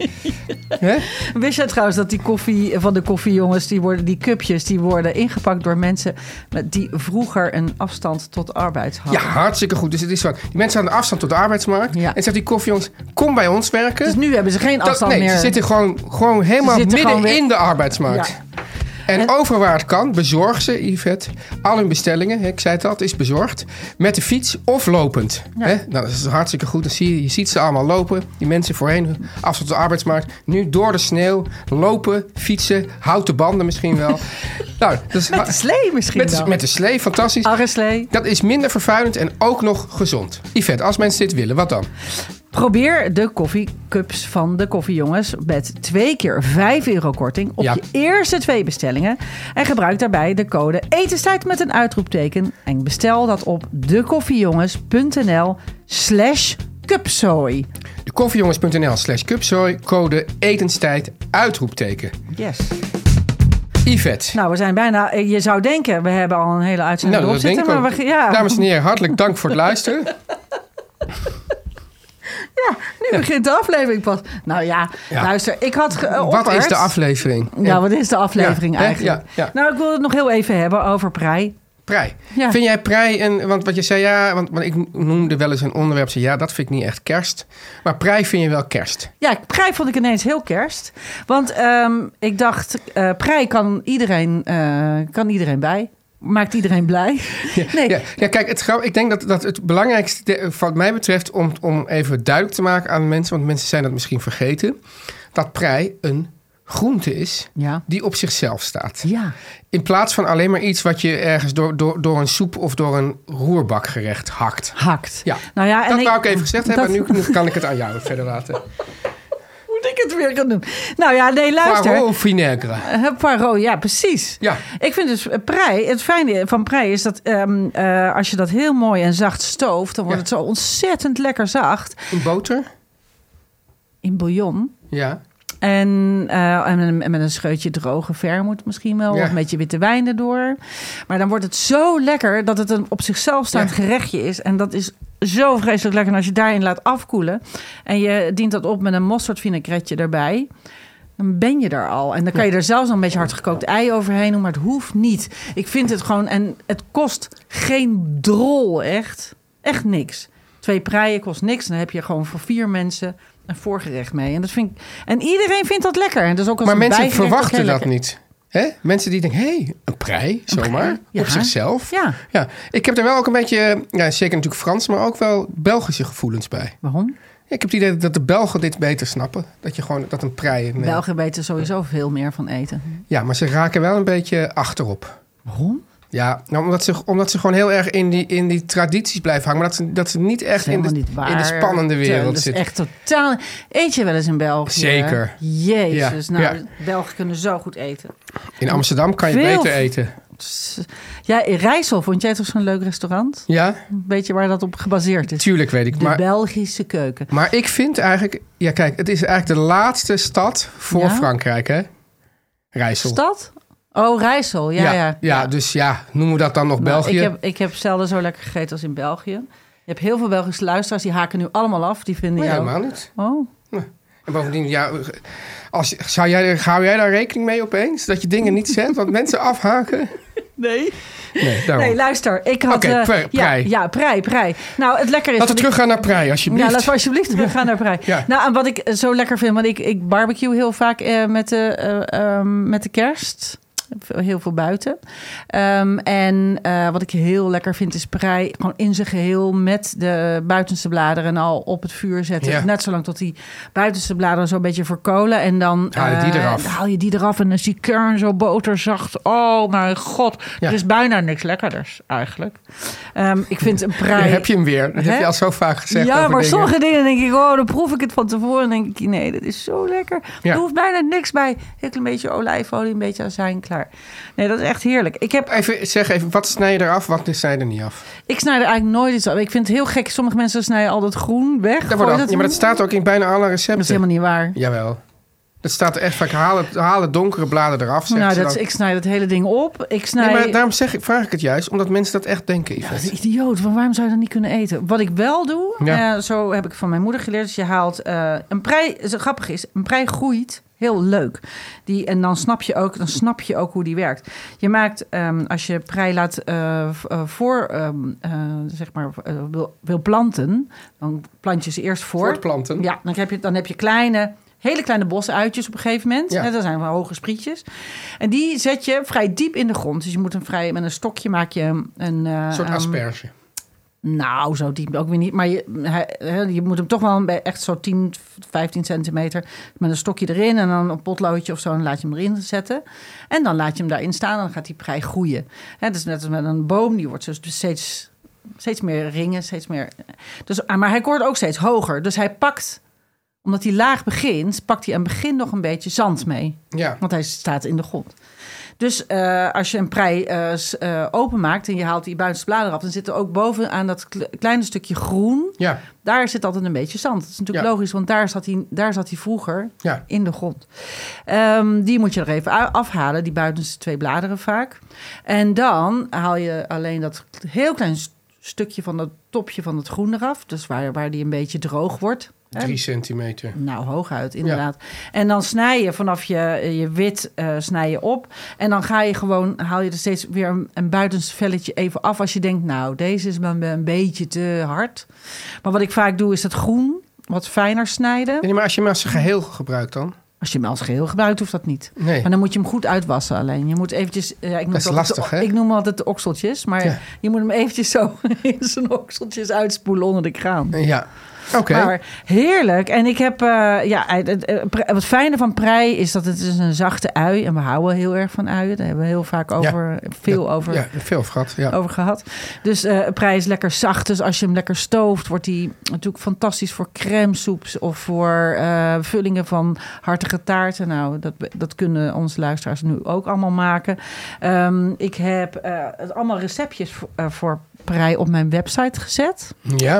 Hè? Wist je trouwens dat die koffie van de koffiejongens, die, worden, die cupjes, die worden ingepakt door mensen met, die vroeger een afstand tot arbeid Ja, hadden? hartstikke goed. Dus het is zo. Die mensen aan de afstand tot de arbeidsmarkt. Oh. Ja. En zegt die koffiejongens, kom bij ons werken. Dus nu hebben ze geen Dat- afstand nee, meer. ze zitten gewoon, gewoon helemaal Ze zitten midden gewoon weer- in de arbeidsmarkt. Ja. En, overal waar het kan, bezorg ze, Yvette, al hun bestellingen, hè, ik zei het al, het is bezorgd, met de fiets of lopend. Hè? Nou, dat is hartstikke goed. Dan zie je, je ziet ze allemaal lopen, die mensen voorheen, af tot de arbeidsmarkt, nu door de sneeuw, lopen, fietsen, houten banden misschien <laughs> wel. nou, dat is, Met de slee misschien met, wel. Oh, met de slee, fantastisch. Arreslee. Dat is minder vervuilend en ook nog gezond. Yvette, als mensen dit willen, wat dan? Probeer de koffiecups van de koffiejongens met twee keer 5 euro korting op Ja. je eerste twee bestellingen. En gebruik daarbij de code etenstijd met een uitroepteken. En bestel dat op dekoffiejongens.nl slash cupzooi. Koffiejongens.nl slash cupzooi, code etenstijd, uitroepteken. Yes. Yvette. Nou, we zijn bijna... eh, Je zou denken, we hebben al een hele uitzending Nou, erop dat denk zitten. ik ook. Maar we, ja, Dames en heren, hartelijk dank <laughs> voor het luisteren. ja, nu begint de aflevering pas. Nou ja, Ja. luister, ik had... ge- eh, Wat is opperd- de aflevering? Ja, wat is de aflevering Ja, hè? eigenlijk? Ja, ja. Nou, ik wil het nog heel even hebben over prei. Prei. Ja. Vind jij prei een... Want wat je zei, ja... Want, want ik noemde wel eens een onderwerp. Zei, ja, dat vind ik niet echt kerst. Maar prei vind je wel kerst. Ja, prei vond ik ineens heel kerst. Want ehm, ik dacht, eh prei kan iedereen, eh, kan iedereen bij. Maakt iedereen <laughs> blij. <laughs> nee, Ja, ja kijk, het, grap- ik denk dat, dat het belangrijkste de- wat mij betreft... Om, om even duidelijk te maken aan mensen... Want mensen zijn dat misschien vergeten. Dat prei een groente is Ja. die op zichzelf staat. Ja. In plaats van alleen maar iets wat je ergens door, door, door een soep of door een roerbakgerecht hakt. hakt. Ja, Nou ja, en dat wou ik even gezegd hebben. dat- Nu, nu kan ik het aan jou verder laten. <laughs> Moet ik het weer gaan doen? Nou ja, nee, <laughs> luister. Poirot vinaigre. Eh, Poirot, ja, precies. Ja. Ik vind dus eh, prei, het fijne van prei is dat ehm, eh, als je dat heel mooi en zacht stooft, dan wordt Ja. het zo ontzettend lekker zacht In boter? in bouillon. Ja. En, eh, en met een- met een scheutje droge vermoed misschien wel. Ja. Of een beetje witte wijn erdoor. Maar dan wordt het zo lekker dat het een op zichzelf staand Ja. gerechtje is. En dat is zo vreselijk lekker. En als je daarin laat afkoelen en je dient dat op met een mosterdvinaigretje erbij... Dan ben je daar al. En dan kan je er zelfs nog een beetje hardgekookt ei overheen doen. Maar het hoeft niet. Ik vind het gewoon... En het kost geen drol, echt. Echt niks. Twee preien kost niks. Dan heb je gewoon voor vier mensen een voorgerecht mee. En, dat vind ik, en iedereen vindt dat lekker. En dat is ook als Maar een mensen bijgerecht ook verwachten heel dat lekker. niet. Hè? Mensen die denken, hé, hey, een prei, zomaar, ja. op zichzelf. Ja. ja. Ik heb er wel ook een beetje, ja, zeker natuurlijk Frans, maar ook wel Belgische gevoelens bij. Waarom? Ik heb het idee dat de Belgen dit beter snappen. Dat je gewoon, dat een prei... een- Belgen weten sowieso veel meer van eten. Ja, maar ze raken wel een beetje achterop. Waarom? Ja, nou, omdat, ze, omdat ze gewoon heel erg in die, in die tradities blijven hangen. Maar dat ze, dat ze niet echt in de, helemaal niet waar. in de spannende Teun. wereld Dat is zitten. echt totaal... Eet je wel eens in België? Zeker. Jezus, Ja, nou, ja. Belgen kunnen zo goed eten. In Amsterdam kan je Veel- beter eten. Ja, in Rijssel vond jij toch zo'n leuk restaurant? Ja, Weet je waar dat op gebaseerd is? tuurlijk weet ik. De Maar, Belgische keuken. maar ik vind eigenlijk... Ja, kijk, het is eigenlijk de laatste stad voor Ja? Frankrijk, hè? Rijssel. Stad? Oh, Rijssel, ja, ja. ja, dus ja, noemen we dat dan nog Nou, België? Ik heb, ik heb zelden zo lekker gegeten als in België. Je hebt heel veel Belgische luisteraars, die haken nu allemaal af. Die vinden Nee, jou... helemaal niet. Oh, En bovendien, ja, als, zou jij, hou jij daar rekening mee opeens? Dat je dingen niet zendt? Want mensen afhaken? nee. Nee, daarom. Nee, luister, ik had... Oh. Oké, eh, pre- ja, prei. ja, prei, prei. Nou, het lekker is... Laten dat we ik- teruggaan naar Prei, alsjeblieft. Ja, Nou, laten we alsjeblieft teruggaan naar prei. Ja. Nou, en wat ik eh, zo lekker vind, want ik, ik barbecue heel vaak eh, met, de, eh, ehm, met de kerst. Heel veel buiten. Ehm, en eh, wat ik heel lekker vind is prei gewoon in zijn geheel met de buitenste bladeren al op het vuur zetten. Ja. Net zolang tot die buitenste bladeren zo'n beetje verkolen. En dan Haal je die eh, eraf. dan haal je die eraf en dan is die kern zo boterzacht. Oh mijn god, Ja. er is bijna niks lekkerders eigenlijk. Ehm, ik vind een prei... Daar heb je hem weer. Dat heb je Hè? al zo vaak gezegd. Ja, over maar dingen. sommige dingen denk ik, oh, dan proef ik het van tevoren. En denk ik, nee, dat is zo lekker. Ja. Er hoeft bijna niks bij. Heel klein beetje olijfolie, een beetje azijn, klaar. Nee, dat is echt heerlijk. Ik, heb, Even zeg even, wat snij je eraf, wat snij je er niet af? ik snijd er eigenlijk nooit iets af. Ik vind het heel gek. Sommige mensen snijden al dat groen weg. Dat Gooi wordt al, ja, maar dat staat ook in bijna alle recepten. Dat is helemaal niet waar. Jawel. Dat staat er echt vaak. Haal, het, haal het donkere bladen eraf. zegt nou, ze dat, dan. ik snijd het hele ding op. Ik Nee, snijd... maar daarom zeg ik, vraag ik het juist, omdat mensen dat echt denken. Ja, dat Yvonne. is idioot. Want waarom zou je dat niet kunnen eten? Wat ik wel doe, Ja. eh, zo heb ik van mijn moeder geleerd. Dus je haalt eh, een prei. Zo grappig is, een prei groeit heel leuk. Die, en dan snap, je ook, dan snap je ook hoe die werkt. Je maakt, ehm, als je prei laat eh, v- eh, voor, ehm, eh, zeg maar, eh, wil, wil planten, dan plant je ze eerst voor. Voortplanten. Ja, dan heb je, dan heb je kleine, hele kleine bosuitjes op een gegeven moment. Ja. Hè, dat zijn wel hoge sprietjes. En die zet je vrij diep in de grond. Dus je moet een vrij, met een stokje maak je een... een eh, Een soort ehm, asperge. nou, zo diep ook weer niet. Maar je, hij- hè, je moet hem toch wel een be- echt zo 10, 15 centimeter met een stokje erin. En dan een potloodje of zo. En laat je hem erin zetten. En dan laat je hem daarin staan. En dan gaat hij prei groeien. Hè, dat is net als met een boom. Die wordt dus steeds, steeds meer ringen. Steeds meer, dus, ah, maar hij wordt ook steeds hoger. Dus hij pakt, omdat hij laag begint, pakt hij aan het begin nog een beetje zand mee. Ja. Want hij staat in de grond. Dus eh, als je een prei eh, s- eh, openmaakt en je haalt die buitenste bladeren af, dan zit er ook bovenaan dat kle- kleine stukje groen. Ja. Daar zit altijd een beetje zand. Dat is natuurlijk Ja. logisch, want daar zat hij, daar zat hij vroeger Ja. in de grond. Ehm, die moet je er even a- afhalen, die buitenste twee bladeren vaak. En dan haal je alleen dat heel klein st- stukje van dat topje van het groen eraf. Dus waar, waar die een beetje droog wordt. hè. Drie centimeter. Nou, hooguit, inderdaad. En dan snij je vanaf je, je wit eh snij je op. En dan ga je gewoon, haal je er steeds weer een, een buitenste velletje even af. Als je denkt, nou, deze is me een beetje te hard. Maar wat ik vaak doe, is het groen wat fijner snijden. Nee, maar als je hem als geheel gebruikt dan? Als je hem als geheel gebruikt, hoeft dat niet. Nee. Maar dan moet je hem goed uitwassen alleen. Je moet eventjes... Ja, ik noem Dat is het altijd lastig, de- hè? Ik noem altijd de okseltjes. Maar Ja. je moet hem eventjes zo <laughs> in zijn okseltjes uitspoelen onder de kraan. Eh, Ja. Oké. Maar heerlijk. En ik heb, eh, ja, het, het- het- het fijne van prei is dat het is een zachte ui. En we houden heel erg van uien. Daar hebben we heel vaak over, veel Dat- over, Oh. Ja, veel vrat. Ja. over gehad. Dus eh prei is lekker zacht. Dus als je hem lekker stooft, wordt die natuurlijk fantastisch voor crème soeps of voor eh, vullingen van hartige taarten. Nou, dat, dat kunnen onze luisteraars nu ook allemaal maken. Ehm, ik heb eh, het allemaal receptjes voor, eh, voor prei op mijn website gezet. ja.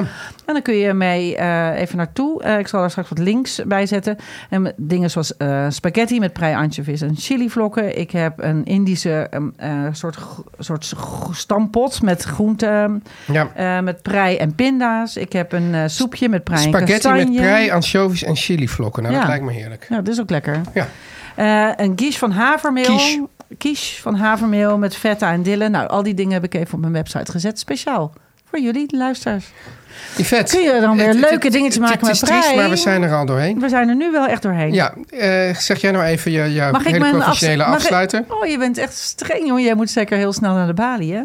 En dan kun je mee eh, even naartoe. Eh, ik zal daar straks wat links bij zetten. En met dingen zoals eh, spaghetti met prei anchovies en chilivlokken. Ik heb een Indische ehm, eh, soort, gro- soort gro- stampot met groenten. ja. eh, met prei en pinda's. Ik heb een eh, soepje met prei en Spaghetti kastanje. met prei, anchovies en chilivlokken. Nou, dat Ja. lijkt me heerlijk. Ja, dat is ook lekker. Ja. Eh, een quiche van havermeel. Quiche. Quiche van havermeel met feta en dille. Nou, al die dingen heb ik even op mijn website gezet. Speciaal voor jullie luisteraars. Yvette. Kun je dan weer het- het- leuke dingetjes het- maken Het is met triest, prei? maar we zijn er al doorheen. We zijn er nu wel echt doorheen. Ja, eh, zeg jij nou even je, jouw Mag ik hele mijn afs- professionele mag ik- afsluiter? oh, je bent echt streng, jongen. Jij moet zeker heel snel naar de balie, hè?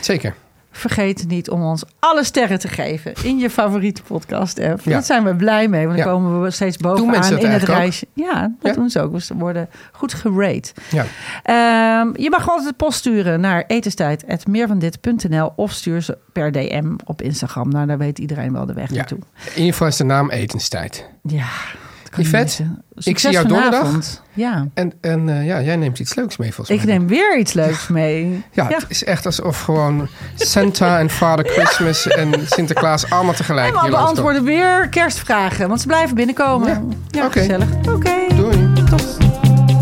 Zeker. Vergeet niet om ons alle sterren te geven in je favoriete podcast-app. Ja. Daar zijn we blij mee, want dan Ja. komen we steeds bovenaan mensen dat in het eigenlijk ook? reisje. Ja, dat Ja? doen ze ook. Dus Ze worden goed gerate. Ja. Ehm, je mag altijd post sturen naar etenstijd.meervandit.nl of stuur ze per DM op Instagram. Nou, daar weet iedereen wel de weg ja. naartoe. In ieder geval is de naam etenstijd. Ja, dat kan niet Yvette, missen. ik zie Succes jou donderdag. vanavond. Ja, En, en eh, ja, jij neemt iets leuks mee volgens ik mij. neem weer iets leuks mee. Ja, het is echt alsof gewoon Santa en Father Christmas en Sinterklaas allemaal tegelijk En we hier langskomen. beantwoorden weer kerstvragen, want ze blijven binnenkomen. Ja, Ja, oké. gezellig. Oké, Doei. tot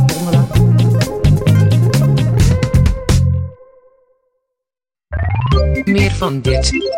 donderdag. Meer van dit.